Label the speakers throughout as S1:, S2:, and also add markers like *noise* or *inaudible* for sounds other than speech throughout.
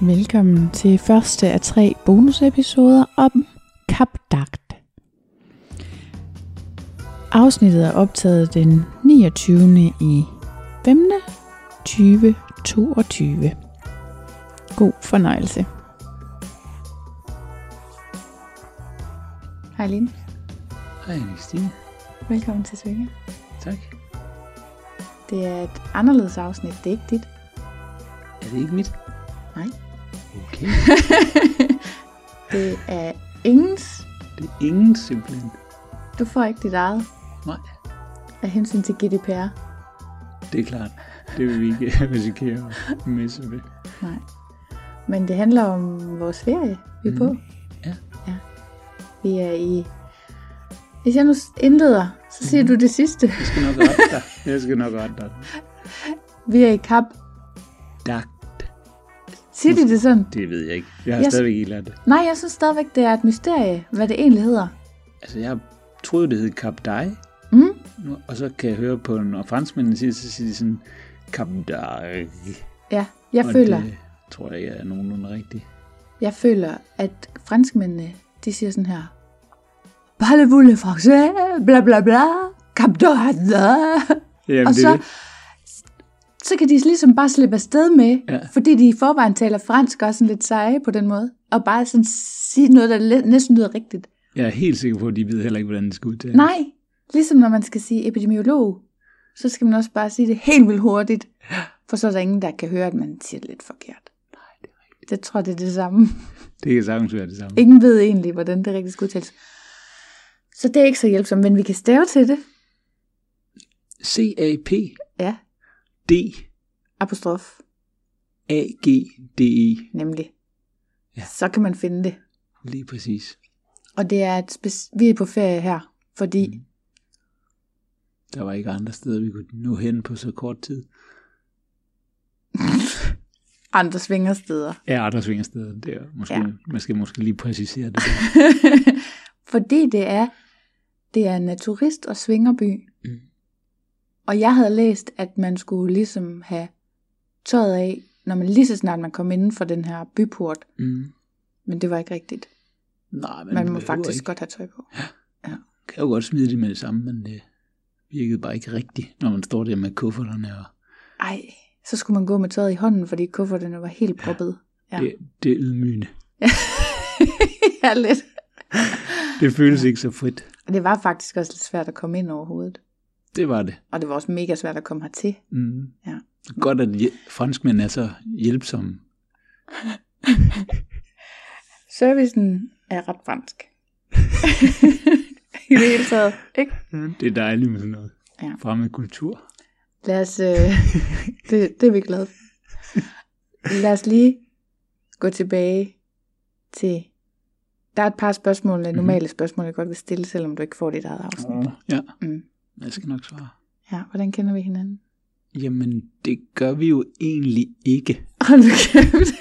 S1: Velkommen til første af tre bonusepisoder om kapdagt. Afsnittet er optaget den 29. i 5. 2022. God fornøjelse. Hej Line.
S2: Hej, Christine.
S1: Velkommen til Svinge.
S2: Tak.
S1: Det er et anderledes afsnit, det er ikke dit.
S2: Er det ikke mit?
S1: Nej.
S2: Okay.
S1: Det er ingens.
S2: Det er ingen simpelthen.
S1: Du får ikke dit eget
S2: Nej,
S1: af hensyn til GDPR.
S2: det er klart. Det vil vi ikke *laughs* risikere at misse med.
S1: Nej. Men det handler om vores ferie, vi er på.
S2: Ja.
S1: ja. Vi er i... Hvis jeg nu indleder, så siger du det sidste.
S2: Jeg skal nok rette dig. Jeg skal nok rette dig.
S1: Vi er i kap.
S2: Dagt.
S1: Siger de det sådan?
S2: Det ved jeg ikke. Jeg har
S1: Jeg-
S2: yes. stadigvæk ikke lært det.
S1: Nej, jeg synes stadigvæk, det er et mysterie, hvad det egentlig hedder.
S2: Altså, jeg troede, det hed Cap Dai.
S1: Mm?
S2: Nu- Og så kan jeg høre på, når franskmændene siger, så siger de sådan, Cap Dai.
S1: Ja, jeg
S2: Og
S1: føler,
S2: Det tror jeg ikke er nogenlunde rigtigt.
S1: jeg føler, at franskmændene, de siger sådan her. Parlez-vous le français? Bla bla bla. Cap d'Or."
S2: Jamen,
S1: Og
S2: det
S1: så,
S2: er det.
S1: så kan de ligesom bare slippe afsted med, ja.
S2: Ja.
S1: fordi de i forvejen taler fransk og er sådan lidt seje på den måde, og bare sådan sige noget, der lidt- næsten lyder rigtigt.
S2: Jeg er helt sikker på, at de ved heller ikke, hvordan det skal udtales.
S1: Nej, ligesom når man skal sige epidemiolog, så skal man også bare sige det helt vildt hurtigt, for så er der ingen, der kan høre, at man siger det lidt forkert. Nej, det er Jeg tror, det er det samme. *laughs*
S2: Det kan sagtens være det samme.
S1: Ingen ved egentlig, hvordan det rigtigt skal udtales. Så det er ikke så hjælpsomt, men vi kan stave til det.
S2: C-A-P-D
S1: Ja, apostrof,
S2: A-G-D-E.
S1: nemlig.
S2: Ja.
S1: Så kan man finde det.
S2: E. Lige præcis.
S1: Og det er et spec- vi er på ferie her, fordi mm.
S2: Der var ikke andre steder, vi kunne nå hen på så kort tid.
S1: andre svingersteder.
S2: Ja, andre svingersteder. Det er måske,
S1: Ja.
S2: ja. Man skal måske lige præcisere det. Der.
S1: *laughs* fordi det er, det er en naturist- og svingerby.
S2: Mm.
S1: Og jeg havde læst, at man skulle ligesom have tøjet af, når man lige så snart man kom inden for den her byport.
S2: *laughs* Mm.
S1: Men det var ikke rigtigt.
S2: Nej,
S1: Man,
S2: men
S1: man må
S2: behøver
S1: faktisk
S2: ikke.
S1: godt have tøj på.
S2: kan jo godt smide det med det samme, men det virkede bare ikke rigtigt, når man står der med kufferterne. Og
S1: Ej, så skulle man gå med tøjet i hånden, fordi kufferterne var helt proppet. *laughs* Ja.
S2: ja. det, det er ydmygende.
S1: ja, lidt.
S2: Det føles ikke så frit.
S1: Og det var faktisk også lidt svært at komme ind overhovedet.
S2: Det var det.
S1: Og det var også mega svært at komme hertil.
S2: Mm.
S1: Ja.
S2: Godt, at hjæl- franskmænd er så hjælpsomme.
S1: Servicen er ret fransk. *laughs* I det hele taget, ikke?
S2: Mm. Det er dejligt med sådan noget.
S1: Ja.
S2: Fremmed kultur.
S1: Lad os, øh, det, det er vi glade for. Lad os lige gå tilbage til... Der er et par spørgsmål, øh, normale spørgsmål, jeg godt vil stille, selvom du ikke får dit eget afsnit.
S2: Ja,
S1: Mm.
S2: jeg skal nok svare.
S1: Ja, hvordan kender vi hinanden?
S2: Jamen, det gør vi jo egentlig ikke.
S1: Hold nu kæft.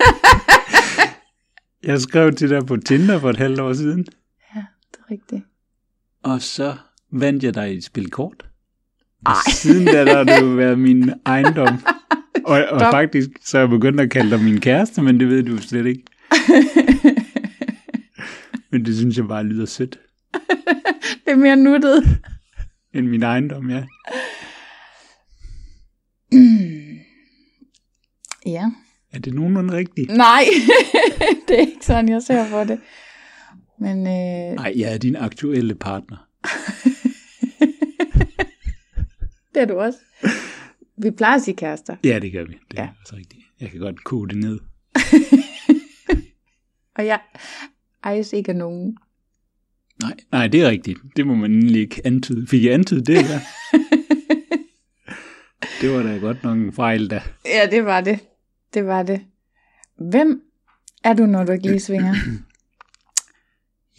S2: Jeg skrev til dig på Tinder for et halvt år siden,
S1: ja, det er rigtigt.
S2: og så vandt jeg dig et spil kort.
S3: Ej.
S2: Siden da, der har det jo været min
S3: *laughs*
S2: ejendom. Og, og
S3: Stop.
S2: faktisk, så er jeg begyndt at kalde dig min kæreste, men det ved du jo slet
S3: *laughs*
S2: ikke. Men det synes jeg bare lyder sødt.
S3: Det er mere nuttet.
S2: End min ejendom, ja.
S3: Ja.
S2: Er det nogenlunde rigtigt?
S3: Nej, *laughs* det er ikke sådan, jeg ser på det. Men øh,
S2: Nej, jeg er din aktuelle partner.
S3: det er du også. Vi plejer at sige kærester.
S2: Ja, det gør vi. Det er
S3: Ja.
S2: også rigtigt. Jeg kan godt kode det ned.
S3: Og jeg ejes ikke af nogen.
S2: Nej, nej, det er rigtigt. Det må man egentlig ikke antyde. Fik jeg antydet det, ja? det var da godt nok en fejl, da.
S3: Ja, det var det. Det var det. Hvem er du, når du er svinger?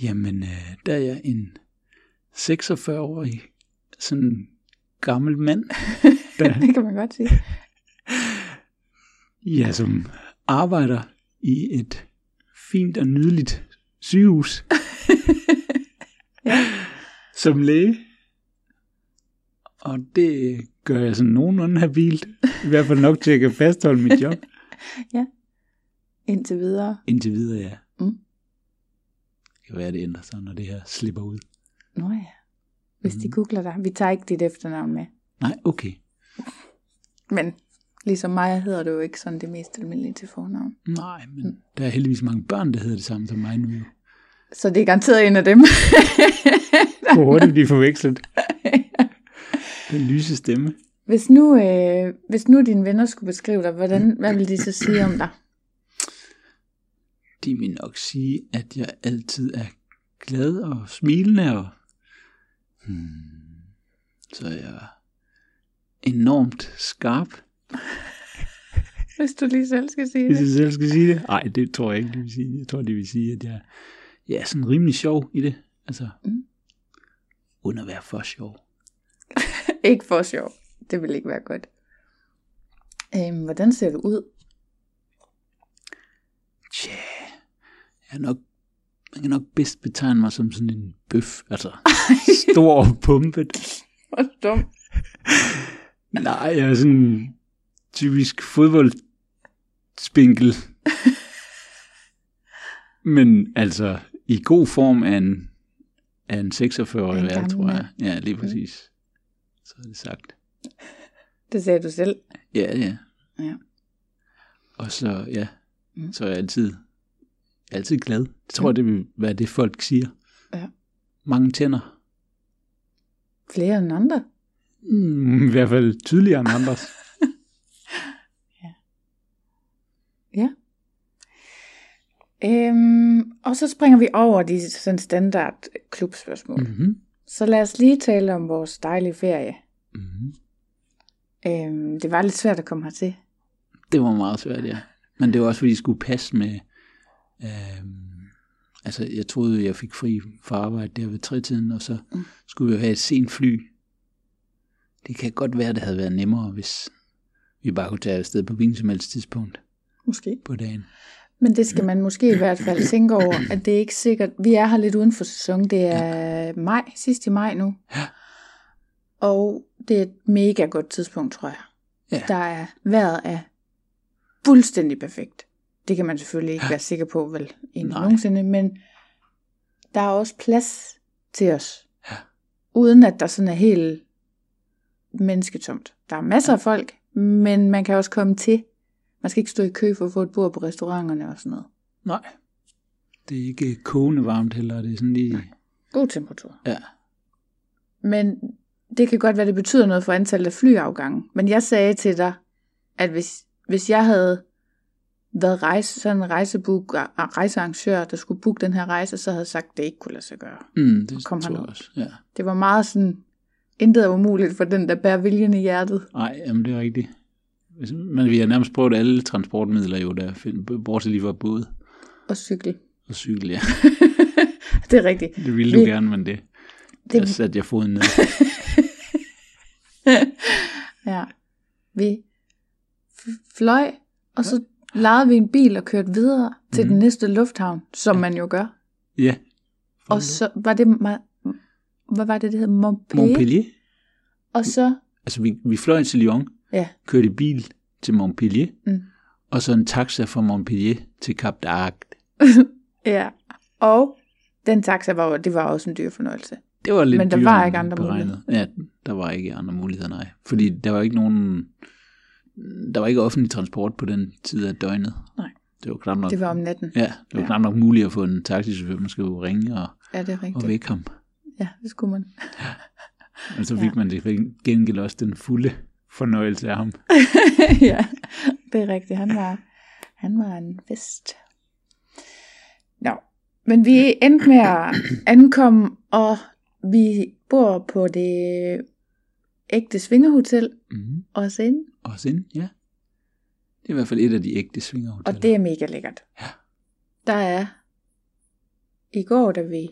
S2: Jamen, øh, der er jeg en 46-årig sådan gammel mand, der,
S3: *laughs* det kan man godt sige.
S2: ja, som arbejder i et fint og nydeligt sygehus. Som læge. Og det gør jeg sådan nogenlunde habilt. I hvert fald nok til, at jeg kan fastholde mit job.
S3: Indtil videre.
S2: Indtil videre, ja.
S3: Mm.
S2: Det kan være, det ændrer sig, når det her slipper ud.
S3: Nå ja. Hvis de googler dig. Vi tager ikke dit efternavn med.
S2: Nej, okay.
S3: Men ligesom mig hedder du jo ikke sådan det mest almindelige til fornavn.
S2: Nej, men der er heldigvis mange børn, der hedder det samme som mig nu. jo.
S3: Så det er garanteret en af dem. *laughs*
S2: Hvor hurtigt de forvekslet. *laughs* Den lyse stemme.
S3: hvis, nu, øh, hvis nu dine venner skulle beskrive dig, hvordan, hvad ville de så sige om dig?
S2: De vil nok sige, at jeg altid er glad og smilende, og hmm, så er jeg enormt skarp,
S3: Hvis du lige selv skal sige
S2: hvis
S3: det.
S2: jeg selv skal sige det. Nej, det tror jeg ikke, de vil sige. Jeg tror, de vil sige, at jeg, jeg er sådan rimelig sjov i det. Altså,
S3: Mm.
S2: uden at være for sjov.
S3: *laughs* Ikke for sjov. Det ville ikke være godt. Øhm, hvordan ser du ud?
S2: Tja, jeg er nok, man kan nok bedst betegne mig som sådan en bøf, *laughs* altså stor og pumpet.
S3: Hvor dum.
S2: Nej, jeg er sådan en typisk
S3: *laughs*
S2: fodboldspinkel. Men altså, i god form af en, af en 46-årig
S3: En
S2: værd,
S3: gammel
S2: tror
S3: mand.
S2: jeg. Ja, lige præcis. Så er det sagt.
S3: Det sagde du selv.
S2: Ja, ja.
S3: Ja.
S2: Og så, ja,
S3: Mm.
S2: så er jeg altid, altid glad. Jeg tror, det vil være det, folk siger.
S3: Ja.
S2: Mange tænder.
S3: Flere end andre.
S2: Mm, I hvert fald tydeligere end
S3: *laughs*
S2: andres.
S3: Øhm, og så springer vi over de sådan standard klubspørgsmål. Mm.
S2: mm-hmm.
S3: Så lad os lige tale om vores dejlige ferie.
S2: Mm-hmm.
S3: Øhm, det var lidt svært at komme hertil.
S2: Det var meget svært, ja. Men det var også, fordi jeg skulle passe med... Øh, altså, jeg troede, jeg fik fri fra arbejde der ved tretiden, og så
S3: Mm.
S2: skulle vi jo have et sent fly. Det kan godt være, det havde været nemmere, hvis vi bare kunne tage afsted på hvilken som helst tidspunkt
S3: Måske.
S2: på dagen.
S3: Men det skal man måske i hvert fald tænke over, at det er ikke sikkert. Vi er her lidt uden for sæson. Det er maj, sidst i maj nu.
S2: Ja.
S3: Og det er et mega godt tidspunkt, tror jeg.
S2: Ja.
S3: Der er vejret er fuldstændig perfekt. Det kan man selvfølgelig ikke være sikker på, vel, endnu
S2: Nej.
S3: nogensinde, men der er også plads til os.
S2: Ja.
S3: Uden at der sådan er helt mennesketomt. Der er masser af folk, men man kan også komme til. Man skal ikke stå i kø for at få et bord på restauranterne og sådan noget.
S2: Nej. Det er ikke øh, kogende varmt heller, det er sådan lige...
S3: God temperatur.
S2: Ja.
S3: Men det kan godt være, det betyder noget for antallet af flyafgange. Men jeg sagde til dig, at hvis, hvis jeg havde været rejse, sådan en rejsebook, rejsearrangør, der skulle booke den her rejse, så havde jeg sagt, at det ikke kunne lade sig gøre.
S2: Mm, det
S3: Kom
S2: tror jeg
S3: herned.
S2: også. Ja.
S3: Det var meget sådan, intet er umuligt for den, der bærer viljen i hjertet.
S2: Nej, jamen det er rigtigt. Hvis- Men vi har nærmest prøvet alle transportmidler jo, der find- bortset lige fra både
S3: Og cykel.
S2: og cykel, ja.
S3: det er rigtigt.
S2: Det ville du
S3: Vi-
S2: gerne, men det, det... der
S3: Det,
S2: satte jeg foden
S3: *laughs*
S2: ned.
S3: ja. Vi f- fløj, og så lejede vi en bil og kørte videre til den næste lufthavn, som man jo gør.
S2: Ja.
S3: Og så var det, Ma- hvad var det, det hed? Montpellier.
S2: Montpellier?
S3: Og så
S2: altså vi, vi fløj til Lyon,
S3: Ja.
S2: kørte i bil til Montpellier,
S3: Mm.
S2: og så en taxa fra Montpellier til Cap d'Arc.
S3: ja. Og den taxa, var, jo- det var også en dyr fornøjelse.
S2: Det var lidt
S3: Men der
S2: dyrere
S3: var ikke
S2: end
S3: andre
S2: beregnet. Ja, der var ikke andre muligheder, nej. Fordi der var ikke nogen... Der var ikke offentlig transport på den tid af døgnet.
S3: Nej.
S2: Det var knap nok...
S3: Det var om natten.
S2: Ja, det var
S3: Ja.
S2: knap nok muligt at få en taxichauffør. Man skulle jo ringe og,
S3: Ja, det er rigtigt.
S2: og vække ham.
S3: Ja, det skulle man. *laughs*
S2: Og så
S3: Ja.
S2: fik ja. man til gengæld også den fulde fornøjelse af ham.
S3: ja, det er rigtigt. Han var, han var en vest. Nå, men vi endte med at ankomme, og vi bor på det ægte svingerhotel,
S2: Mm.
S3: også inde,
S2: Og sind, ja. Det er i hvert fald et af de ægte svingerhoteller.
S3: og det er mega lækkert.
S2: Ja.
S3: Der er, i går, da vi,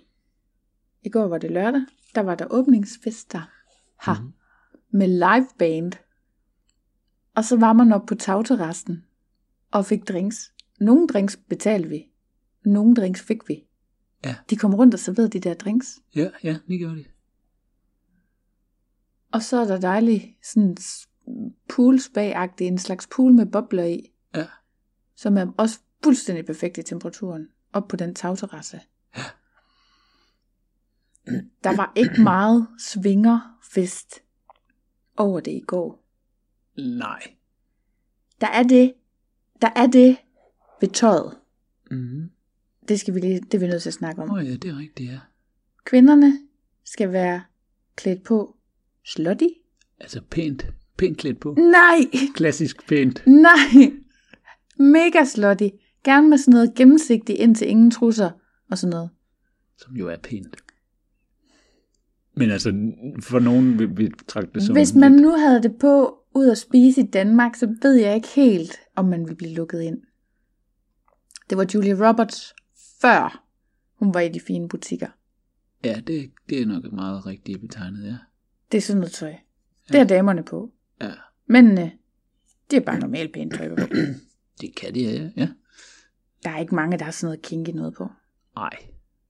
S3: i går var det lørdag, der var der åbningsfester her
S2: Mhm.
S3: med live band. Og så var man oppe på tagterrassen og fik drinks. Nogle drinks betalte vi, nogle drinks fik vi.
S2: Ja.
S3: De kom rundt og serverede de der drinks.
S2: Ja, ja, det gjorde det.
S3: Og så er der dejlig sådan s- poolspa-agtig, en slags pool med bobler i,
S2: Ja.
S3: som er også fuldstændig perfekt i temperaturen, op på den tagterrasse. Der var ikke meget svingerfest over det i går.
S2: Nej.
S3: Der er det, der er det ved tøjet.
S2: Mm.
S3: Det, skal vi lige, det er vi nødt til at snakke
S2: Åh
S3: om.
S2: oh, ja, det er rigtigt, ja.
S3: Kvinderne skal være klædt på slutty.
S2: Altså pænt. Pænt klædt på.
S3: Nej,
S2: Klassisk pænt.
S3: nej. Mega slutty. Gerne med sådan noget gennemsigtigt ind til ingen trusser og sådan noget.
S2: som jo er pænt. Men altså, for nogen vil vi betragte det som...
S3: Hvis man
S2: lidt-
S3: nu havde det på ud at spise i Danmark, så ved jeg ikke helt, om man ville blive lukket ind. Det var Julia Roberts før hun var i de fine butikker.
S2: Ja, det, det er nok meget rigtigt betegnet, ja.
S3: Det er sådan noget tøj. Det har damerne på.
S2: Ja,
S3: Mændene, det er bare normalt pænt tøj. på.
S2: det kan de, ja. ja.
S3: Der er ikke mange, der har sådan noget kinky noget på.
S2: Nej,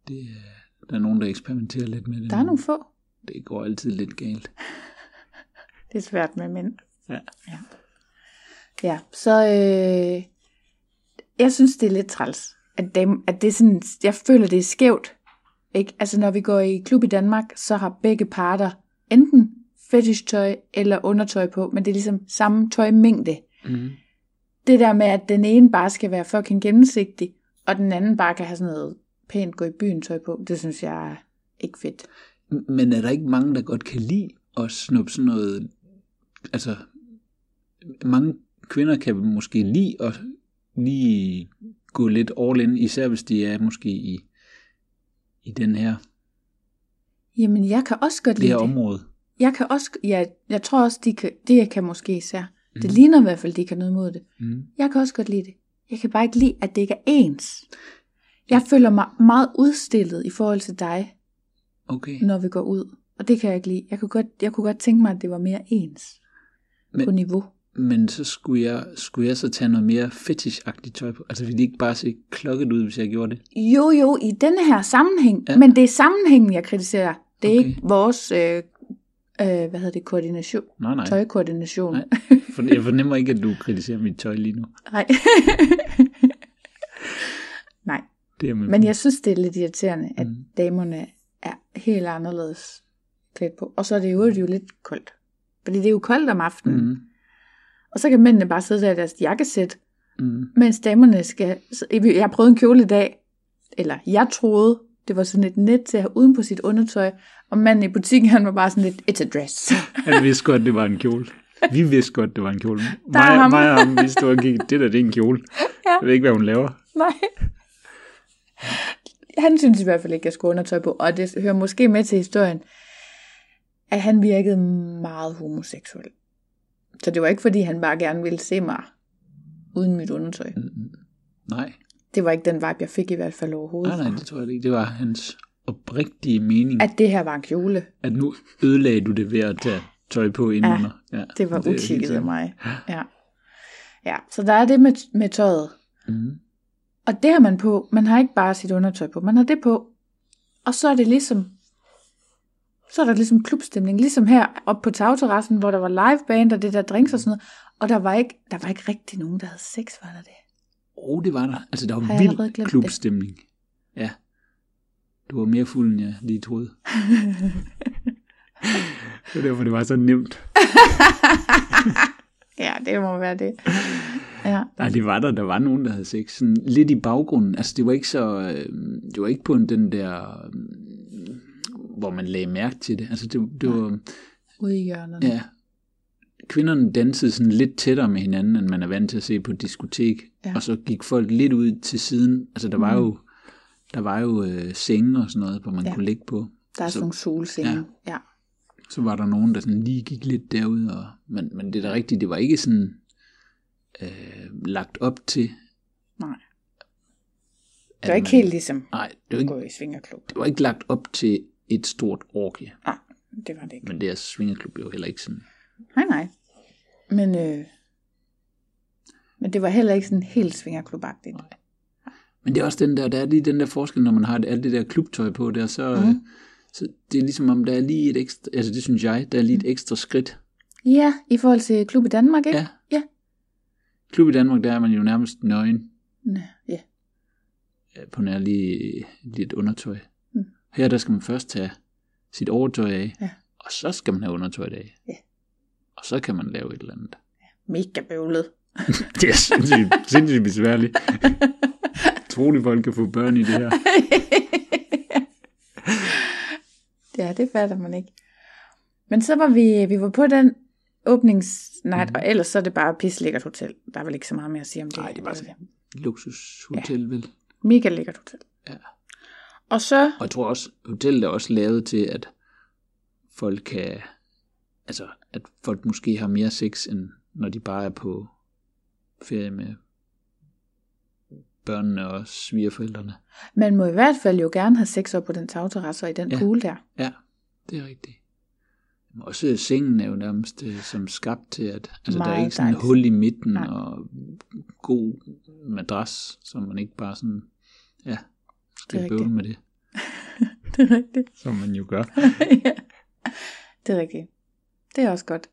S2: det er, der er nogen, der eksperimenterer lidt med det.
S3: Der er
S2: nu.
S3: nogle få.
S2: Det går altid lidt galt.
S3: Det er svært med mænd.
S2: Ja.
S3: Ja, ja så øh, jeg synes, det er lidt træls, at, dem, at det er sådan, jeg føler, det er skævt. Ikke? Altså, når vi går i klub i Danmark, så har begge parter enten fetishtøj eller undertøj på, men det er ligesom samme tøjmængde.
S2: Mm.
S3: det der med, at den ene bare skal være fucking gennemsigtig, og den anden bare kan have sådan noget pænt gå i byen tøj på, det synes jeg er ikke fedt.
S2: Men er der ikke mange, der godt kan lide at snuppe sådan noget... Altså, mange kvinder kan måske lide at lige gå lidt all in, især hvis de er måske i, i den her,
S3: Jamen, jeg kan også godt
S2: det
S3: lide
S2: her
S3: det.
S2: område.
S3: Jeg kan også, ja, jeg tror også, de kan, det kan måske især. Mm.
S2: Mhm.
S3: Det ligner i hvert fald, de kan noget mod det.
S2: Mm.
S3: Jeg kan også godt lide det. Jeg kan bare ikke lide, at det ikke er ens. Jeg føler mig meget udstillet i forhold til dig,
S2: Okay,
S3: når vi går ud. Og det kan jeg ikke lide. Jeg kunne godt, jeg kunne godt tænke mig, at det var mere ens
S2: Men-
S3: Men... på niveau.
S2: men så skulle jeg, skulle jeg så tage noget mere fetishagtigt tøj på? Altså ville det ikke bare se klokket ud, hvis jeg gjorde det?
S3: Jo, jo, i denne her sammenhæng.
S2: Ja.
S3: Ja. Men det er sammenhængen, jeg kritiserer. Det er
S2: Okay.
S3: okay. ikke vores, øh, øh, hvad hedder det, koordination.
S2: Nej, nej.
S3: Tøjkoordination.
S2: Nej. For jeg fornemmer ikke, at du kritiserer mit tøj lige nu.
S3: Nej. *laughs* Nej.
S2: Det er med
S3: Men
S2: på.
S3: jeg synes, det er lidt irriterende, at
S2: Mhm.
S3: mm. damerne er helt anderledes klædt på. Og så er det jo, jo lidt koldt. Fordi det er jo koldt om aftenen. Mm.
S2: Mm.
S3: Og så kan mændene bare sidde der i deres jakkesæt,
S2: Mm.
S3: mens damerne skal... så- Jeg har prøvet en kjole i dag, eller jeg troede, det var sådan et net til at have uden på sit undertøj, og manden i butikken, han var bare sådan lidt, it's a dress.
S2: Han vidste godt, det var en kjole. Vi vidste godt, det var en kjole.
S3: Der er
S2: mig,
S3: ham.
S2: mig og ham, vi stod og gik, det der, det er en kjole.
S3: Ja.
S2: Jeg ved ikke, hvad hun laver.
S3: Nej. Han synes i hvert fald ikke, at jeg skulle have undertøj på, og det hører måske med til historien, at han virkede meget homoseksuel. Så det var ikke, fordi han bare gerne ville se mig uden mit undertøj.
S2: Mm. Nej,
S3: Det var ikke den vibe, jeg fik i hvert fald
S2: nej,
S3: overhovedet.
S2: nej, det tror jeg ikke. Det var hans oprigtige mening, at,
S3: At det her var en kjole,
S2: at nu ødelagde du det ved at tage tøj på indenunder. Ja,
S3: det var
S2: er
S3: utjekket
S2: helt
S3: af
S2: sikkert.
S3: mig. Ja. ja, så der er det med, med tøjet.
S2: Mm.
S3: Og det har man på. Man har ikke bare sit undertøj på, man har det på. Og så er det ligesom, så er der ligesom klubstemning. Ligesom her oppe på tagterrassen, hvor der var liveband og det der drinks og sådan noget. Og der var ikke, der var ikke rigtig nogen, der havde sex, var der det?
S2: Oh, det var der. Altså, der var
S3: Har jeg allerede
S2: vild
S3: glemt
S2: klubstemning. Ja. Du var mere fuld, end jeg lige
S3: *laughs*
S2: troede. det var derfor, det var så nemt.
S3: Ja, det må være det. *laughs* Ja.
S2: Nej, det var der. Der var nogen, der havde sex. Sådan lidt i baggrunden. Altså, det var ikke så... øh, Det var ikke på en- den der... øh, Hvor man lagde mærke til det. Altså, det, det var...
S3: Ude i hjørnet.
S2: Ja. Kvinderne dansede sådan lidt tættere med hinanden, end man er vant til at se på et diskotek.
S3: Ja. Mm.
S2: Ja. Og så gik folk lidt ud til siden. Altså, der var jo, der var jo øh, senge og sådan noget, hvor man
S3: Ja.
S2: ja. kunne ligge på.
S3: Der er sådan nogle solsenge. Ja. ja.
S2: Så var der nogen, der sådan lige gik lidt derud. Og, men, men det er da rigtigt, det var ikke sådan øh, lagt op til.
S3: Nej.
S2: at
S3: Det var ikke
S2: man-
S3: helt ligesom
S2: Nej, det var
S3: at
S2: ikke,
S3: gå i svingerklub.
S2: det var ikke lagt op til et stort orgie.
S3: Nej, det var det ikke.
S2: Men det er svingerklub jo heller ikke sådan.
S3: Nej, nej. Men, øh, men det var heller ikke sådan helt svingerklubagtigt.
S2: Men det er også den der, der er lige den der forskel, når man har alt det der klubtøj på der, så,
S3: Mhm.
S2: mm. så det er ligesom om, der er lige et ekstra, altså det synes jeg, der er lige
S3: Mhm.
S2: et ekstra skridt.
S3: Ja, i forhold til klub i Danmark, ikke?
S2: Ja.
S3: Ja.
S2: Klub i Danmark, der er man jo nærmest nøgen
S3: Nå, ja.
S2: øh, på nær lige lidt undertøj.
S3: Mm.
S2: Mm. Her der skal man først tage sit overtøj af,
S3: Ja.
S2: og så skal man have undertøjet af.
S3: Ja.
S2: Og så kan man lave et eller andet.
S3: Mega bøvlet.
S2: *laughs* Det er sindssygt, sindssygt besværligt. *laughs* Trolig folk kan få børn i det her.
S3: ja, det fatter man ikke. Men så var vi, vi var på den åbningsnight, mm. og ellers så er det bare et pislækkert hotel. Der er vel ikke så meget mere at sige om det.
S2: Mhm.
S3: Øh,
S2: Nej, det var sådan luksushotel, ja. vel?
S3: Mega lækkert hotel.
S2: Ja.
S3: Og så,
S2: Og jeg tror også, hotellet er også lavet til, at folk kan, altså, at folk måske har mere sex, end når de bare er på ferie med børnene og svigerforældrene.
S3: man må i hvert fald jo gerne have sex op på den tagterrasse og i den ja.
S2: Ja.
S3: pool der. *laughs*
S2: Ja, det er rigtigt. Men også sengen er jo nærmest øh, som skabt til, at altså, der er
S3: Meget
S2: ikke sådan et
S3: dejligt.
S2: hul i midten
S3: Nej.
S2: Nej. og god madras, så man ikke bare sådan, ja, skal
S3: rigtigt.
S2: bøvle med det,
S3: Det er rigtigt.
S2: som man jo gør.
S3: ja. Det er rigtigt. Det er også godt.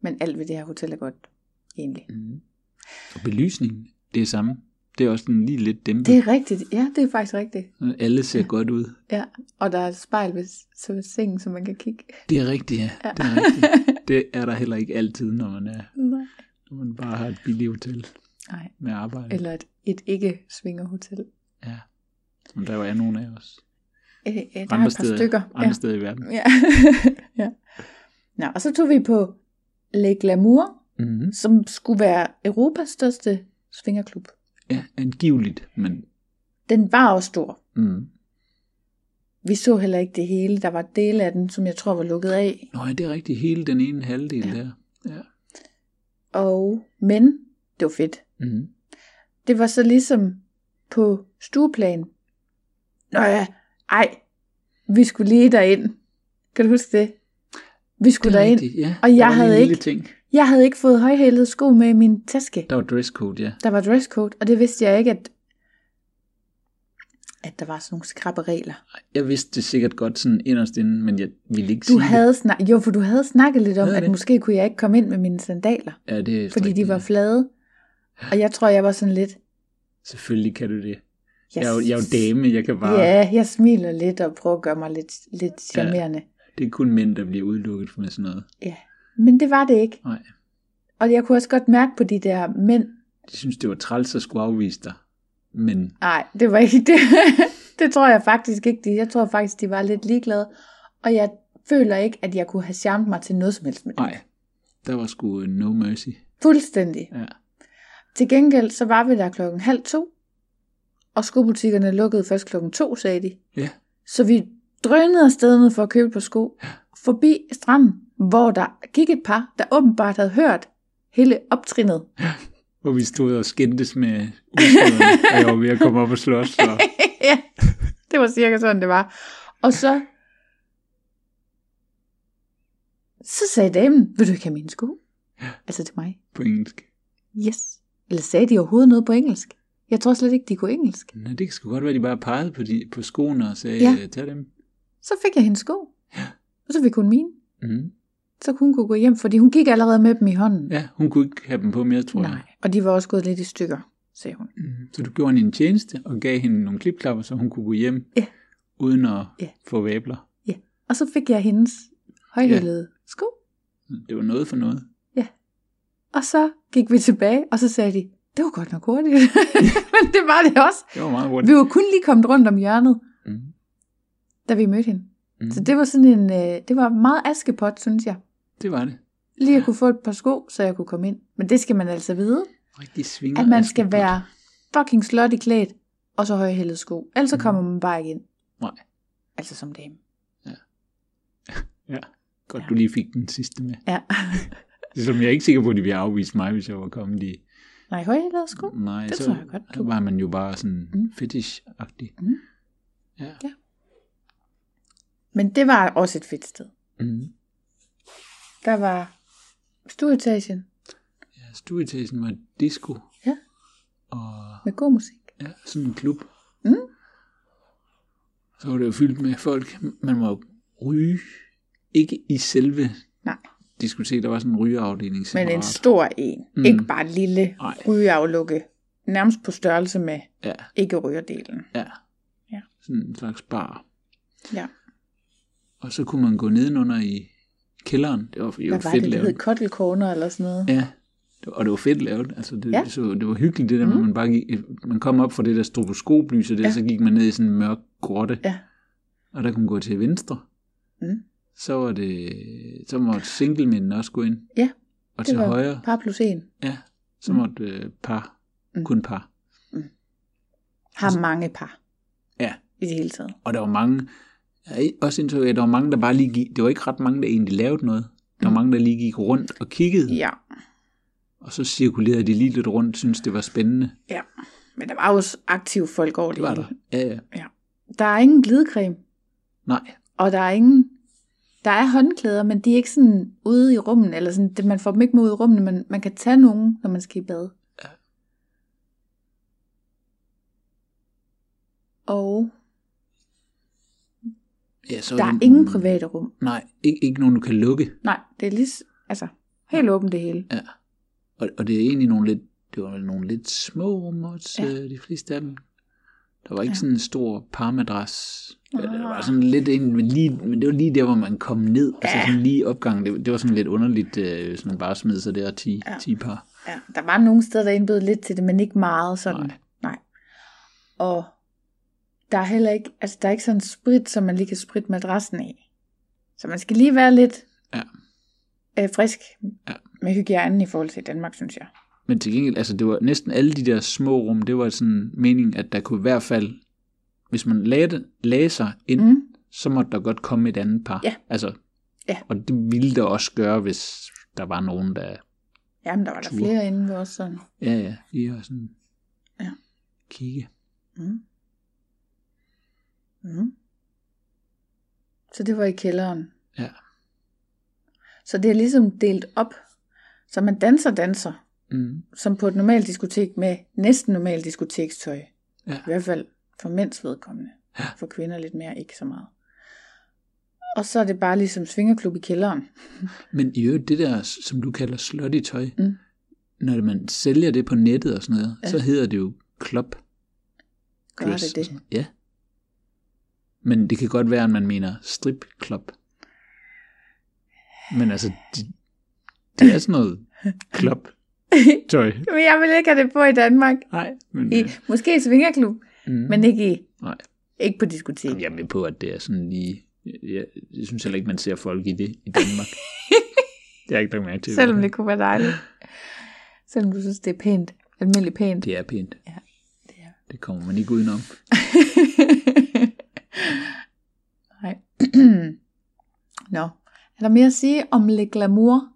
S3: Men alt ved det her hotel er godt, egentlig.
S2: Mm. Og belysningen, det er samme. Det er også sådan lige lidt dæmpet.
S3: Det er rigtigt. Ja, det er faktisk rigtigt.
S2: Alle ser godt ud.
S3: Ja. Og der er et spejl ved, s- så ved sengen, som man kan kigge.
S2: Det er rigtigt, ja. Det er,
S3: *laughs*
S2: rigtigt. det er der heller ikke altid, når man, er,
S3: Nej.
S2: når man bare har et billigt hotel
S3: Nej.
S2: med arbejde.
S3: Eller et, et ikke-svingerhotel.
S2: Ja. Som der jo er nogen af os.
S3: Øh, øh, der er et
S2: Andre
S3: par
S2: steder,
S3: stykker.
S2: andre
S3: ja.
S2: steder i verden.
S3: ja. *laughs* ja. Nå, og så tog vi på Lake Lamour,
S2: Mm-hmm.
S3: som skulle være Europas største svingerklub.
S2: Ja, angiveligt, men...
S3: Den var også stor.
S2: Mm.
S3: Vi så heller ikke det hele. Der var dele af den, som jeg tror var lukket af.
S2: Nå, ja, det er rigtigt. Hele den ene halvdel ja. der. Ja.
S3: Og, men, det var fedt.
S2: Mm.
S3: Det var så ligesom på stueplan. Nå ja, ej, vi skulle lige derind. Kan du huske det? Vi skulle
S2: Det er
S3: derind.
S2: rigtigt, ja.
S3: Og
S2: Der
S3: jeg
S2: var lige
S3: havde
S2: en lille
S3: ikke-
S2: Ting.
S3: Jeg havde ikke fået højhælede sko med i min taske.
S2: Der var dresscode, ja.
S3: Der var dresscode, og det vidste jeg ikke, at, at der var sådan nogle skrappe regler.
S2: Jeg vidste det sikkert godt sådan inderst inde, men jeg ville ikke
S3: Du
S2: sige
S3: havde snak- jo, for du havde snakket lidt om,
S2: Havde jeg
S3: at
S2: det?
S3: måske kunne jeg ikke komme ind med mine sandaler,
S2: det. Ja, det er
S3: fordi de
S2: rigtigt,
S3: var
S2: ja.
S3: flade. Og jeg tror, jeg var sådan lidt...
S2: Selvfølgelig kan du det.
S3: Jeg,
S2: Jeg er jo, jeg er jo dame, jeg kan bare... Yeah.
S3: Ja, jeg smiler lidt og prøver at gøre mig lidt, lidt
S2: Ja.
S3: charmerende. Ja.
S2: Det er kun mænd, der bliver udelukket med sådan noget.
S3: Men det var det ikke.
S2: Nej,
S3: Og jeg kunne også godt mærke på de der mænd.
S2: de synes, det var træls at skulle afvise dig. Men
S3: Nej, det var ikke det. *laughs* det tror jeg faktisk ikke. de- Jeg tror faktisk, de var lidt ligeglade. Og jeg føler ikke, at jeg kunne have charmet mig til noget som helst med dem.
S2: nej, der var sgu øh, no mercy.
S3: Fuldstændig.
S2: Ja.
S3: Til gengæld, så var vi der klokken halv to. Og skobutikkerne lukkede først klokken to, sagde de.
S2: Ja,
S3: Så vi drønede afsted ned for at købe et par sko, forbi stranden, hvor der gik et par, der åbenbart havde hørt hele optrinnet.
S2: hvor vi stod og skændtes med
S3: *laughs*
S2: udstøderne, og jeg var ved at komme op og slås. Og...
S3: ja, det var cirka sådan, det var. Og så... Så sagde damen, vil du ikke have mine sko? Altså til mig.
S2: På engelsk.
S3: Yes. Eller sagde de overhovedet noget på engelsk? Jeg tror slet ikke, de kunne engelsk.
S2: Nå, det kan sgu godt være, de bare pegede på, de, på skoene og sagde, øh,
S3: Ja.
S2: ja. tag dem.
S3: Så fik jeg hendes sko. Og så fik hun mine.
S2: Mm.
S3: Så kunne hun kunne gå hjem, fordi hun gik allerede med dem i hånden.
S2: Ja, hun kunne ikke have dem på mere, tror jeg.
S3: Nej, og de var også gået lidt i stykker, sagde hun.
S2: Mm. Så du gjorde hende en tjeneste og gav hende nogle klipklapper, så hun kunne gå hjem
S3: Ja.
S2: uden at
S3: Ja.
S2: få væbler.
S3: Og så fik jeg hendes højhælede ja. sko.
S2: Det var noget for noget.
S3: Og så gik vi tilbage, og så sagde de, det var godt nok hurtigt. *laughs* Men det var det også.
S2: Det var meget hurtigt.
S3: Vi var kun lige kommet rundt om hjørnet,
S2: Mm.
S3: da vi mødte hende.
S2: Mm.
S3: Så det var sådan en, øh, det var meget askepot, synes jeg.
S2: det var det.
S3: Lige at kunne få et par sko, så jeg kunne komme ind. Men det skal man altså vide,
S2: Rigtig svinger.
S3: at man
S2: Askepot.
S3: skal være fucking slot i klædt, og så højhældet sko. Ellers så
S2: Mhm.
S3: kommer man bare ikke ind.
S2: Nej.
S3: Altså som dame.
S2: Ja. Godt, du lige fik den sidste med.
S3: Ja.
S2: Som jeg er ikke sikker på, at de ville afvise mig, hvis jeg var kommet i.
S3: *laughs* Nej, højhældet sko.
S2: Nej,
S3: det
S2: så
S3: tror jeg godt, du-
S2: var man jo bare sådan
S3: Mm.
S2: mm. fetish-agtig.
S3: Mm.
S2: Ja.
S3: Ja. Men det var også et fedt sted.
S2: Mm.
S3: Der var stueetagen
S2: ja stueetagen var disco.
S3: Ja.
S2: Og
S3: med god musik.
S2: ja, sådan en klub.
S3: Mm.
S2: Så var det jo fyldt med folk. Man må ryge. Ikke i selve
S3: Nej.
S2: diskotek, der var sådan en rygeafdeling.
S3: Men en
S2: separat.
S3: stor en.
S2: Mm.
S3: Mm. Ikke bare en lille
S2: Nej.
S3: rygeaflukke. Nærmest på størrelse med
S2: Ja,
S3: ikke-rygerdelen.
S2: ja.
S3: Ja.
S2: Sådan en slags bar.
S3: Ja.
S2: Og så kunne man gå nedenunder i kælderen. Det var jo
S3: Hvad var
S2: fedt
S3: det, det
S2: lavet.
S3: hed? Kottelkorner eller sådan noget?
S2: Ja, det var- og det var fedt lavet. Altså, det,
S3: Ja.
S2: ja. så, det var hyggeligt, det der, mm. man bare gik, man kom op fra det der stroboskoplys, og det,
S3: Ja.
S2: ja. så gik man ned i sådan en mørk grotte,
S3: Ja.
S2: og der kunne man gå til venstre.
S3: Mm.
S2: Så var det, så måtte singlemændene også gå ind.
S3: Ja,
S2: Og
S3: det
S2: til
S3: var
S2: højre,
S3: par plus en.
S2: ja, så
S3: Mm.
S2: måtte øh, par,
S3: Mm.
S2: mm. kun par. Altså-
S3: Har mange par
S2: Ja,
S3: i det hele taget.
S2: og der var mange, jeg har også indtryk af, at der var mange, der bare lige gik, det var ikke ret mange, der egentlig lavede noget. Der var mange, der lige gik rundt og kiggede,
S3: Mm. Ja,
S2: og så cirkulerede de lige lidt rundt, synes det var spændende.
S3: ja. Men der var også aktive folk over det.
S2: Det var der.
S3: hele.
S2: Ja, ja.
S3: Der er ingen glidecreme,
S2: Nej,
S3: og der er ingen... Der er håndklæder, men de er ikke sådan ude i rummen, eller sådan, det- man får dem ikke med ud i rummen, men man kan tage nogen, når man skal i bad.
S2: Ja.
S3: Og
S2: Ja, så
S3: der er
S2: det-
S3: ingen private rum.
S2: Nej, ikke, ikke nogen, du kan lukke.
S3: Nej, det er lige, s- altså, helt åbent det hele.
S2: Ja. Og, og det er egentlig nogle lidt, det var vel nogle lidt små rum også,
S3: Ja.
S2: ja. de fleste af dem. Der var ikke
S3: Ja.
S2: ja. sådan en stor parmadras. Ah. Det
S3: Ah.
S2: var sådan lidt en, men, lige, men det var lige der, hvor man kom ned. Ja. Altså
S3: Ja.
S2: sådan lige opgangen. Det, det var sådan lidt underligt, øh, hvis man bare smed sig der og 10,
S3: Ja.
S2: ja. 10 par.
S3: Ja, der var nogle steder, der indbød lidt til det, men ikke meget sådan.
S2: Nej.
S3: Nej. Og der er heller ikke, altså der er ikke sådan sprit, som man lige kan spritte madrassen af. Så man skal lige være lidt
S2: Ja.
S3: øh, frisk
S2: Ja.
S3: med hygiejnen i forhold til Danmark, synes jeg.
S2: Men til gengæld, altså det var næsten alle de der små rum, det var sådan meningen, at der kunne i hvert fald, hvis man lagde, lagde sig ind, mm.
S3: Mm.
S2: så måtte der godt komme et andet par.
S3: Ja.
S2: Altså,
S3: Ja.
S2: Og det ville der også gøre, hvis der var nogen, der...
S3: Jamen, der var der
S2: Ture.
S3: flere inde ved os sådan.
S2: Ja, ja, lige har sådan...
S3: Ja.
S2: Kigge.
S3: Mm. Mm. Så det var i kælderen.
S2: Ja.
S3: Så det er ligesom delt op. Så man danser danser,
S2: Mm.
S3: som på et normalt diskotek med næsten normalt diskotekstøj.
S2: Ja.
S3: I hvert fald for mænds vedkommende. Ja. For kvinder lidt mere, ikke så meget. Og så er det bare ligesom svingerklub i kælderen.
S2: Men i øvrigt, det der, som du kalder slutty tøj,
S3: Mm.
S2: når man sælger det på nettet og sådan noget,
S3: Ja.
S2: ja. så hedder det jo club
S3: Gør
S2: dress.
S3: det
S2: og
S3: det?
S2: sådan noget. Ja. Men det kan godt være, at man mener strip club. Men altså, det, det er sådan
S3: *laughs*
S2: noget club tøj.
S3: Men jeg vil ikke have det på i Danmark.
S2: Nej, men...
S3: I, måske i svingerklub,
S2: mm.
S3: men ikke, i,
S2: Nej.
S3: ikke på diskotek.
S2: Jamen, Jeg er med på, at det er sådan lige... Jeg, jeg synes heller ikke, man ser folk i det i
S3: *laughs*
S2: Danmark. det er ikke nok mærke til. i hvert
S3: Selvom
S2: fald.
S3: det kunne være
S2: *laughs*
S3: dejligt. Selvom du synes, det er pænt. Almindeligt pænt.
S2: Det er pænt.
S3: Ja, det er.
S2: Det kommer man ikke udenom.
S3: *laughs* Nej. *clears throat* Nå. Er der mere at sige om Le Glamour?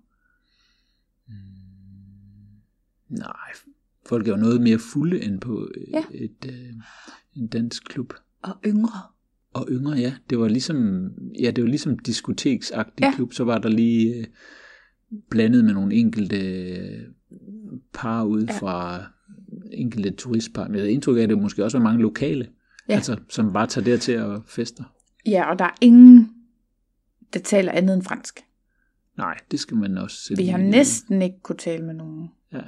S2: Nej, folk er jo noget mere fulde end på øh,
S3: Ja.
S2: et, øh, en dansk klub.
S3: Og yngre.
S2: Og yngre, ja. Det var ligesom, ja, det var ligesom diskoteksagtig
S3: Ja.
S2: ja. klub. Så var der lige øh, blandet med nogle enkelte øh, par ude ja. fra enkelte turistpar. Men jeg havde indtryk af, at det måske også var mange lokale,
S3: Ja.
S2: ja. altså, som bare tager dertil og fester.
S3: Ja, og der er ingen der taler andet end fransk.
S2: Nej, det skal man også sætte
S3: Vi har
S2: i-
S3: næsten ikke kunne tale med nogen.
S2: Ja,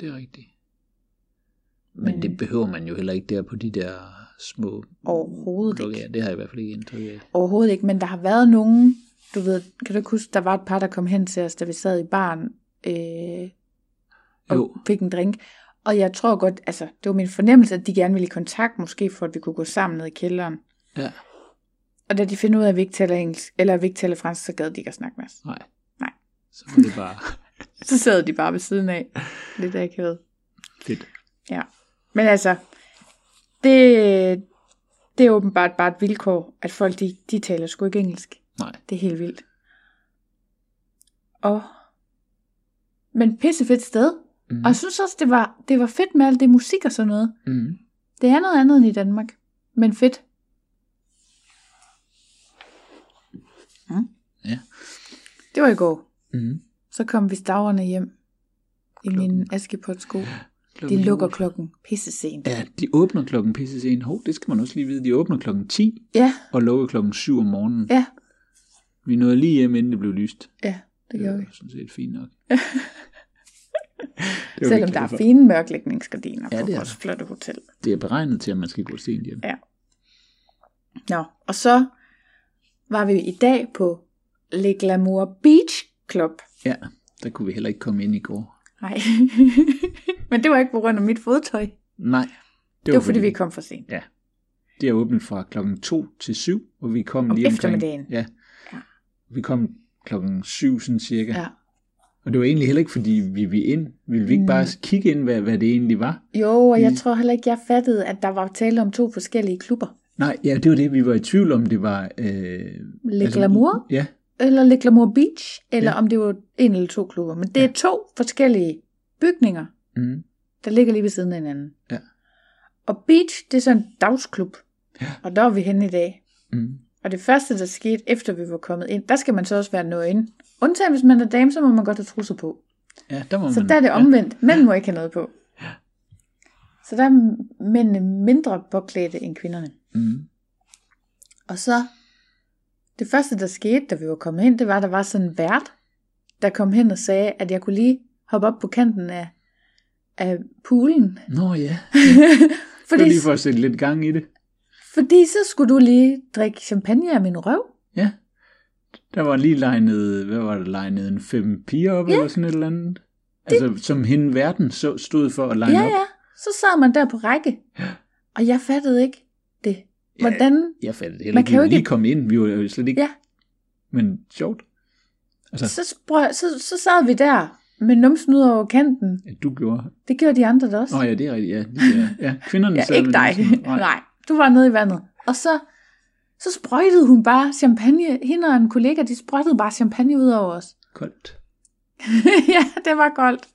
S2: det er rigtigt. Men det behøver man jo heller ikke der på de der små
S3: Overhovedet ikke.
S2: blokker. Det har jeg i hvert fald ikke indtryk af.
S3: Overhovedet ikke, men der har været nogen, du ved, kan du ikke huske, der var et par, der kom hen til os, da vi sad i baren øh, og
S2: Jo.
S3: fik en drink. Og jeg tror godt, altså det var min fornemmelse, at de gerne ville i kontakt, måske for at vi kunne gå sammen ned i kælderen.
S2: Ja,
S3: Og da de finder ud af, at vi ikke taler engelsk, eller at vi ikke taler fransk, så gad de ikke at snakke med os.
S2: nej.
S3: Nej.
S2: Så var det
S3: *laughs*
S2: bare
S3: Så sad de bare ved siden
S2: *laughs*
S3: af. Lidt akavet.
S2: fedt.
S3: Ja. Men altså, det, det er åbenbart bare et vilkår, at folk de, de taler sgu ikke engelsk.
S2: Nej,
S3: Det er helt vildt. Og... Men pissefedt sted. Mm.
S2: Mhm.
S3: Og jeg synes også, det var, det var fedt med alt det musik og sådan noget.
S2: mm.
S3: Det er noget andet end i Danmark. Men fedt. Mm.
S2: Ja.
S3: Det var i går.
S2: Mm.
S3: Så kom vi stavrende hjem. I min
S2: Klokken.
S3: Askepot-sko.
S2: Klokken
S3: De lukker
S2: otte.
S3: klokken pisse sent.
S2: Ja, de åbner klokken pisse sent. Hov, det skal man også lige vide. De åbner klokken 10
S3: Ja,
S2: og lukker klokken 7 om morgenen.
S3: ja,
S2: Vi nåede lige hjem, inden det blev lyst.
S3: ja. Det gjorde vi.
S2: var sådan set fint
S3: *laughs*
S2: nok. Det var vi
S3: Selvom der
S2: glade
S3: er
S2: for.
S3: fine mørklægningsgardiner
S2: Ja,
S3: ja, på
S2: det er
S3: vores
S2: der.
S3: flotte hotel.
S2: Det er beregnet til, at man skal gå sent hjem.
S3: Ja. Nå, og så var vi i dag på Le Glamour Beach Club.
S2: Ja, der kunne vi heller ikke komme ind i går.
S3: Nej, *laughs* men det var ikke på grund af mit fodtøj. Det
S2: Nej.
S3: var, det var fordi, vi kom for sent.
S2: Ja. Det er åbnet fra klokken 2 til 7, og vi kom
S3: Om
S2: lige omkring...
S3: eftermiddagen.
S2: Ja.
S3: Ja.
S2: Vi kom klokken 7 sådan cirka.
S3: Ja.
S2: Og det var egentlig heller ikke, fordi vi ville ind. Ville vi ikke bare
S3: Mm.
S2: kigge ind, hvad, hvad det egentlig var?
S3: Jo, og jeg
S2: Mm.
S3: tror heller ikke, jeg fattede, at der var tale om to forskellige klubber.
S2: Nej, ja, det var det, vi var i tvivl om, det var... Øh,
S3: Le Glamour?
S2: Ja,
S3: Eller Le Glamour Beach, eller ja.
S2: mm. Ja.
S3: om det var en eller to klubber. Men det er to forskellige bygninger,
S2: mm,
S3: der ligger lige ved siden af hinanden.
S2: Ja.
S3: Og Beach, det er sådan en dagsklub. Ja. Og der var vi henne i dag.
S2: mm,
S3: Og det første, der skete, efter vi var kommet ind, der skal man så også være nøgen. Undtagen hvis man er dame, så må man godt have trusser på.
S2: ja, der var
S3: Så
S2: man...
S3: der er det omvendt. Mænd må ikke have noget på. Så der er mændene mindre påklædte end kvinderne.
S2: Mm,
S3: Og så, det første, der skete, da vi var kommet ind, det var, at der var sådan en vært, der kom hen og sagde, at jeg kunne lige hoppe op på kanten af, af poolen. *laughs*
S2: nå ja, det var
S3: Fordi,
S2: lige for at sætte lidt gang i det.
S3: fordi så skulle du lige drikke champagne af min røv.
S2: Ja. Der var lige legnet, hvad var det, legnet en fem piger op, ja. eller sådan et eller andet. Altså, som hende verden så stod for at legne
S3: Ja,
S2: op.
S3: ja. Så sad man der på række. Og jeg fattede ikke det. Hvordan?
S2: Jeg fandt det heller
S3: Man
S2: ikke,
S3: kan jo
S2: vi
S3: ikke-
S2: lige kom ind, vi var jo slet ikke...
S3: Ja.
S2: Men sjovt.
S3: Ja, så, sprø- så, så sad vi der med numsen ud over kanten.
S2: Ja, du gjorde.
S3: Det gjorde de andre da også.
S2: Nå ja, det er rigtigt, ja. Lige, ja. ja kvinderne
S3: *laughs* ja,
S2: sad
S3: ikke
S2: med
S3: dig.
S2: numsen.
S3: Nej. *laughs* Nej, du var nede i vandet. Og så, så sprøjtede hun bare champagne. Hende og en kollega, de sprøjtede bare champagne ud over os. *laughs*
S2: Koldt.
S3: ja, det var koldt.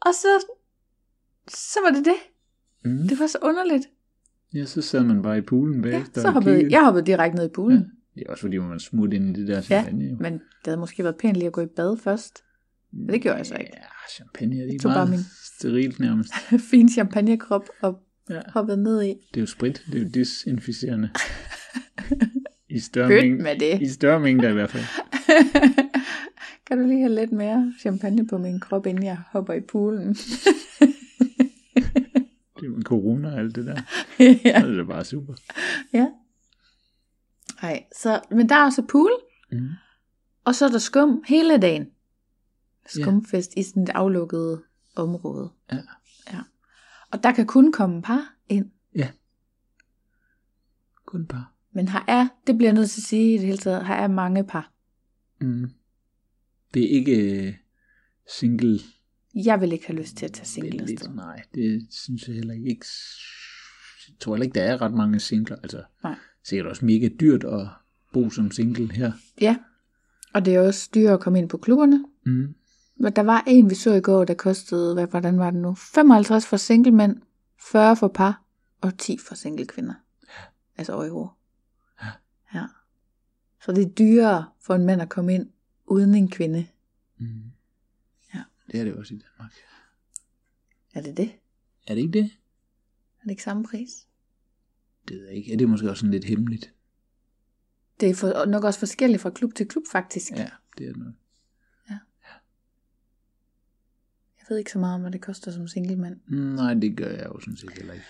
S3: Og så, så var det det.
S2: Mm.
S3: Det var så underligt.
S2: Ja, så sad man bare i poolen
S3: Ja,
S2: bagefter
S3: så
S2: og
S3: hoppede,
S2: kiggede.
S3: jeg hoppede direkte ned i poolen.
S2: Ja. Det er også fordi, man smut ind i det der
S3: Ja,
S2: champagne. jo.
S3: men det havde måske været pænt lige at gå i bad først. *laughs* Men det gjorde jeg så ikke.
S2: Ja, champagne det er lige
S3: tog bare
S2: meget
S3: min-
S2: sterilt nærmest.
S3: Fin champagnekrop og
S2: Ja.
S3: hoppede ned i.
S2: Det er jo sprit, det er jo
S3: *laughs*
S2: desinficerende. I større,
S3: Pyt
S2: mængde,
S3: med det.
S2: I større mængder i hvert fald.
S3: *laughs* Kan du lige have lidt mere champagne på min krop, inden jeg hopper i poolen? *laughs*
S2: Det er jo corona og alt det der.
S3: ja.
S2: Så er det bare super.
S3: ja. Ej, så, men der er også pool,
S2: Mm.
S3: og så er der skum hele dagen.
S2: Ja.
S3: Skumfest i sådan et aflukket område.
S2: Ja.
S3: ja. Og der kan kun komme par ind.
S2: Kun par.
S3: Men her er, det bliver jeg nødt til at sige i det hele taget, her er mange par.
S2: Mm. Det er ikke øh, single.
S3: Jeg vil ikke have lyst til at tage
S2: Det
S3: single
S2: er
S3: afsted.
S2: lidt, ligesom. nej, det synes jeg heller ikke. Jeg tror heller ikke, der er ret mange singler. Altså,
S3: Nej.
S2: sikkert også mega dyrt at bo som single her.
S3: Ja. Og det er også dyrere at komme ind på klubberne.
S2: Mm.
S3: Men der var en, vi så i går, der kostede, hvad, hvordan var det nu? 55 for single mænd, 40 for par og 10 for single kvinder. Altså euro. Ja. Så det er dyrere for en mand at komme ind uden en kvinde.
S2: Mm.
S3: Ja.
S2: Det er det også i Danmark.
S3: Er det det?
S2: Er det ikke det?
S3: Er det ikke samme pris?
S2: Det ved jeg ikke. Er det måske også sådan lidt hemmeligt?
S3: Det er for, og nok også forskelligt fra klub til klub, faktisk.
S2: Ja, det er noget.
S3: Jeg ved ikke så meget om, hvad det koster som singlemand.
S2: Nej, det gør jeg jo sådan set heller ikke.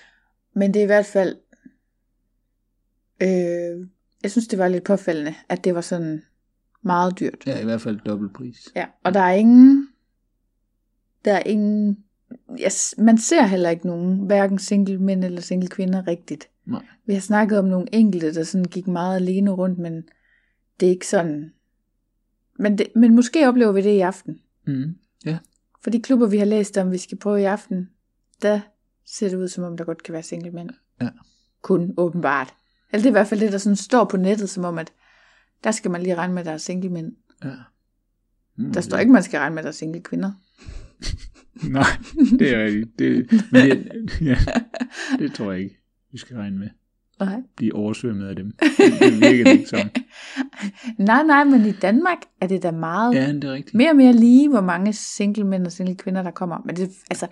S3: Men det er i hvert fald... Øh, jeg synes, det var lidt påfældende, at det var sådan meget dyrt.
S2: Ja, i hvert fald dobbelt pris.
S3: Ja, og der er ingen... Der er ingen... Yes, man ser heller ikke nogen, hverken single mænd eller single kvinder rigtigt.
S2: Nej.
S3: Vi har snakket om nogle enkelte, der sådan gik meget alene rundt, men det er ikke sådan... Men, det, men måske oplever vi det i aften.
S2: Mm. Ja,
S3: For de klubber, vi har læst om, vi skal prøve i aften, der ser det ud, som om der godt kan være singlemænd.
S2: Ja.
S3: Kun åbenbart. Eller det er i hvert fald det, der sådan står på nettet, som om, at der skal man lige regne med, at der er singlemænd.
S2: ja. Mm,
S3: Der står ikke, man skal regne med, at der er single kvinder.
S2: Nej, det er rigtigt. Det, men det, ja, det tror jeg ikke, vi skal regne med.
S3: Nej.
S2: Blive oversvømmet af dem. Det virker det ikke som.
S3: *laughs* nej, nej, men i Danmark er det da meget
S2: Ja, det er rigtigt.
S3: mere og mere lige, hvor mange single mænd og single kvinder, der kommer. Men det, altså,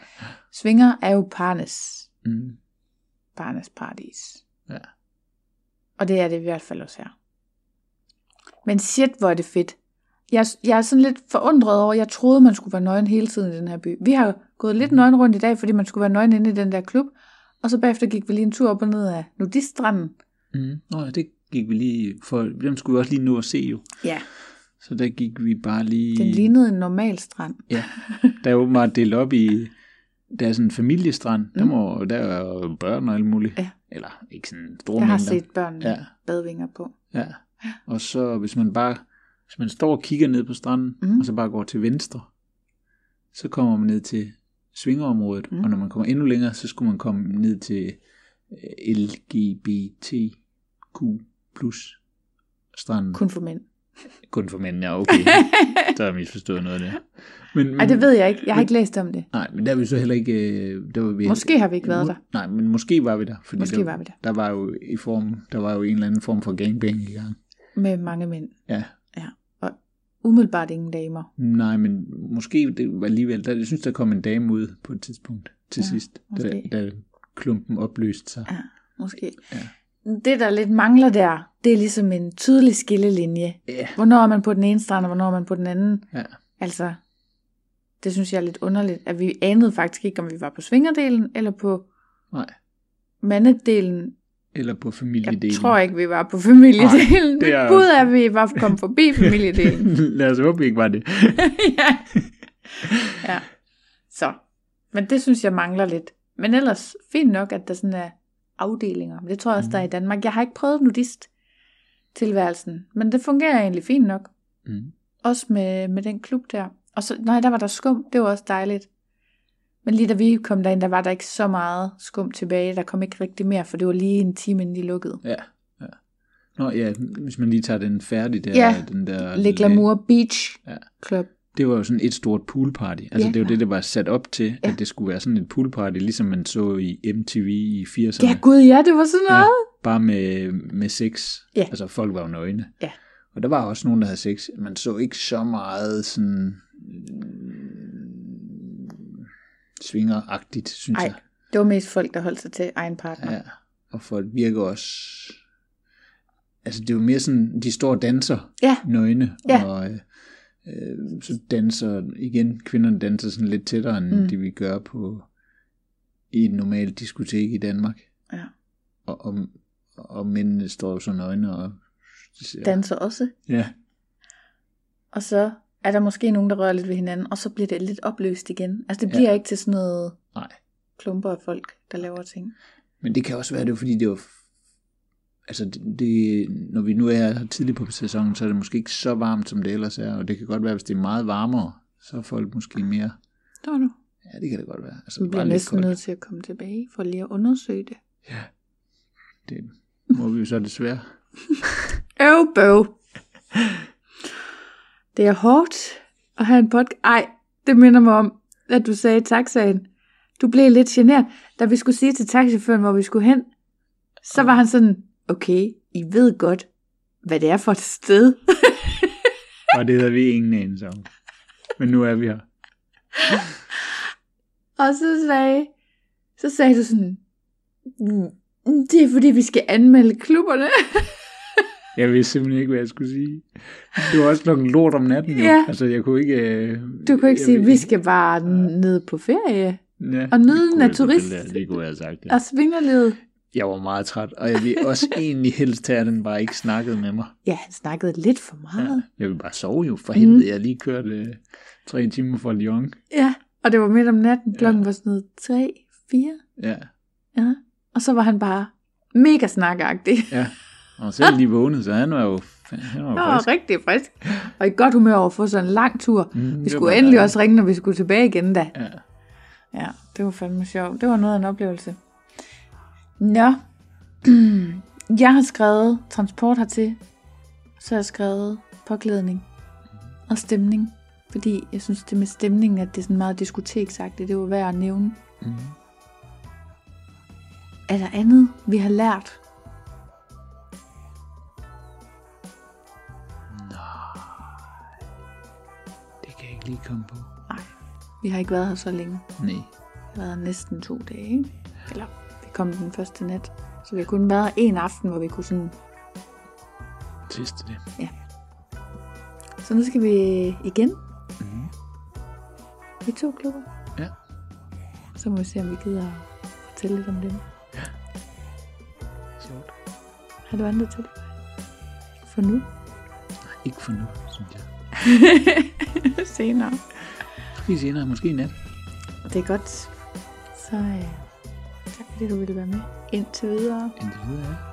S3: svinger er jo parnes,
S2: Mm.
S3: parnes paradis.
S2: Ja.
S3: Og det er det i hvert fald også her. Men shit, hvor er det fedt. Jeg, jeg er sådan lidt forundret over, jeg troede, man skulle være nøgen hele tiden i den her by. Vi har gået
S2: Mm.
S3: lidt nøgen rundt i dag, fordi man skulle være nøgen inde i den der klub. Og så bagefter gik vi lige en tur op og ned af nudiststranden.
S2: Mm. Nå, ja, det gik vi lige, for dem skulle vi også lige nå at se jo.
S3: Ja,
S2: Så der gik vi bare lige...
S3: den lignede en normal strand.
S2: Ja, der er åbenbart delt op i... Der er sådan en familiestrand, mm. der, må, der er jo børn og alt muligt.
S3: Ja.
S2: Eller ikke sådan store
S3: Jeg har
S2: mængder.
S3: set børn ja.
S2: Ja.
S3: badvinger på.
S2: Ja. Og så hvis man bare hvis man står og kigger ned på stranden,
S3: Mhm.
S2: mm. og så bare går til venstre, så kommer man ned til svingerområdet,
S3: Mhm.
S2: mm. og når man kommer endnu længere, så skulle man komme ned til øh, LGBTQ plus stranden. Kun,
S3: Kun for mænd.
S2: Kun for mænd, ja,
S3: *laughs*
S2: okay. så har jeg misforstået noget der. Mm. Men,
S3: Ej, det ved jeg ikke. Jeg har ikke læst om det.
S2: Nej, men der er vi så heller ikke... øh, Der var vi,
S3: Måske har vi ikke været der.
S2: Nej, men måske var vi der. Fordi
S3: Måske
S2: der,
S3: var vi der.
S2: Der var, jo i form, der var jo en eller anden form for gangbang i gang.
S3: Med mange mænd.
S2: Ja,
S3: Ja. Og umiddelbart ingen damer.
S2: Nej, men måske det var alligevel, der, jeg synes, der kom en dame ud på et tidspunkt til ja, sidst, da,
S3: måske.
S2: da klumpen opløste sig. Ja.
S3: Ja, måske. Ja. Det, der lidt mangler der, det er ligesom en tydelig skillelinje.
S2: Ja.
S3: Hvornår er man på den ene strand, og hvornår er man på den anden?
S2: ja.
S3: Altså, det synes jeg er lidt underligt, at vi anede faktisk ikke, om vi var på svingerdelen eller på
S2: Nej.
S3: mandedelen.
S2: Eller på
S3: Jeg
S2: familiedelen.
S3: tror ikke, vi var på familiedelen.
S2: Nej, det er-
S3: Men Gud er, at vi var kommet
S2: *laughs*
S3: forbi familiedelen.
S2: Lad os håbe, vi ikke var det.
S3: *laughs* ja. ja. Så. Men det synes jeg mangler lidt. Men ellers, fint nok, at der sådan er afdelinger. Men det tror jeg også, der er i
S2: Mhm.
S3: Danmark. Jeg har ikke prøvet nudist tilværelsen, men det fungerer egentlig fint nok.
S2: Mm.
S3: Også med, med den klub der. Og så, nej, der var der skum. Det var også dejligt. Men lige da vi kom derind, der var der ikke så meget skum tilbage. Der kom ikke rigtig mere, for det var lige en time, inden de lukkede.
S2: Ja, ja. Nå ja, hvis man lige tager den færdig der.
S3: Ja,
S2: den der
S3: Le Glamour Beach
S2: Ja.
S3: Club.
S2: Det var jo sådan et stort poolparty. Altså
S3: Ja.
S2: det var det, der var sat op til,
S3: Ja.
S2: at det skulle være sådan et poolparty, ligesom man så i MTV i 80'erne.
S3: Ja, gud ja, det var sådan noget.
S2: bare med, med sex.
S3: Ja.
S2: Altså folk var jo nøgne.
S3: Ja.
S2: Og der var også nogen, der havde sex. Man så ikke så meget sådan mm, svingeragtigt, synes
S3: Nej,
S2: jeg.
S3: det var mest folk, der holdt sig til egen partner.
S2: Ja. Og folk virker også... Altså det er jo mere sådan, de står og danser
S3: Ja.
S2: nøgne.
S3: Ja.
S2: Og øh, øh, så danser, igen, kvinderne danser sådan lidt tættere, end
S3: Mm.
S2: mm. det vi gør på i et normalt diskotek i Danmark.
S3: ja.
S2: og, og, og mændene står jo så nøgne og ser.
S3: Danser også.
S2: Ja,
S3: Og så er der måske nogen, der rører lidt ved hinanden, og så bliver det lidt opløst igen. Altså det
S2: Ja.
S3: bliver ikke til sådan noget
S2: nej.
S3: klumper af folk, der laver ting.
S2: Men det kan også være, det er fordi, det var... Altså, det, det, når vi nu er her tidligt på sæsonen, så er det måske ikke så varmt, som det ellers er. Og det kan godt være, hvis det er meget varmere, så er folk måske mere...
S3: Nå nu.
S2: Ja, det kan det godt være. Altså,
S3: Vi bliver
S2: bare lidt
S3: næsten
S2: koldt.
S3: nødt til at komme tilbage for lige at undersøge det.
S2: Det må vi jo så desværre.
S3: Øv, bøv. *laughs* Det er hårdt at have en podcast. Ej, det minder mig om, at du sagde i taxaen. Du blev lidt genert. Da vi skulle sige til taxichaufføren, hvor vi skulle hen, så var han sådan, okay, I ved godt, hvad det er for et sted.
S2: Og det havde vi ingen anelse om. Men nu er vi her.
S3: Og så sagde, så sagde "Mm, *laughs* du sådan, "Mm, det er fordi, vi skal anmelde klubberne.
S2: Jeg vidste simpelthen ikke, hvad jeg skulle sige. Det var også klokken lort om natten. jo.
S3: Ja.
S2: Altså, jeg kunne ikke... Øh,
S3: Du kunne ikke
S2: jeg
S3: sige,
S2: ved-
S3: vi skal bare ned på ferie
S2: Ja.
S3: og nyde
S2: Kunne jeg-
S3: naturist
S2: Det, det kunne jeg have sagt, ja.
S3: og svingerlivet.
S2: Jeg var meget træt, og jeg ville også egentlig helst have, at den bare ikke snakkede med mig.
S3: Ja, han snakkede lidt for meget.
S2: Jeg ville bare sove jo. For helvede, jeg lige kørte øh, tre timer fra Lyon.
S3: Ja, ja og det var midt om natten. Klokken var sådan noget 3, 4.
S2: Ja,
S3: Ja. Og så var han bare mega snakagtig.
S2: ja. Og selv lige vågnede, så han var jo, han var jo
S3: Han var
S2: frisk.
S3: rigtig frisk. Og i godt humør over at få sådan en lang tur.
S2: Mm,
S3: Vi
S2: det
S3: skulle
S2: var
S3: endelig
S2: dejligt.
S3: også ringe, når vi skulle tilbage igen da.
S2: Ja.
S3: Ja, det var fandme sjovt. Det var noget af en oplevelse. Nå. *clears throat* Jeg har skrevet transport hertil. Så har jeg skrevet påklædning og stemning. Fordi jeg synes, det med stemningen, at det er sådan meget diskoteksagtigt, det var værd at nævne.
S2: Mhm.
S3: Er der andet, vi har lært?
S2: Det kan jeg ikke lige komme på.
S3: Vi har ikke været her så længe.
S2: Nej.
S3: har været næsten to dage. ikke? Eller vi kom den første nat. Så vi har kun været en aften, hvor vi kunne sådan...
S2: Sidste det.
S3: Så nu skal vi igen. Mm. Vi er to klubber.
S2: Ja.
S3: Så må vi se, om vi gider at fortælle lidt om dem.
S2: Sjovt.
S3: Har du andet til? For nu.
S2: Ikke for nu, synes jeg.
S3: Senere.
S2: Måske senere, måske i nat.
S3: Det er godt. Så øh, tak fordi du ville være med. Indtil videre.
S2: Indtil videre, ja.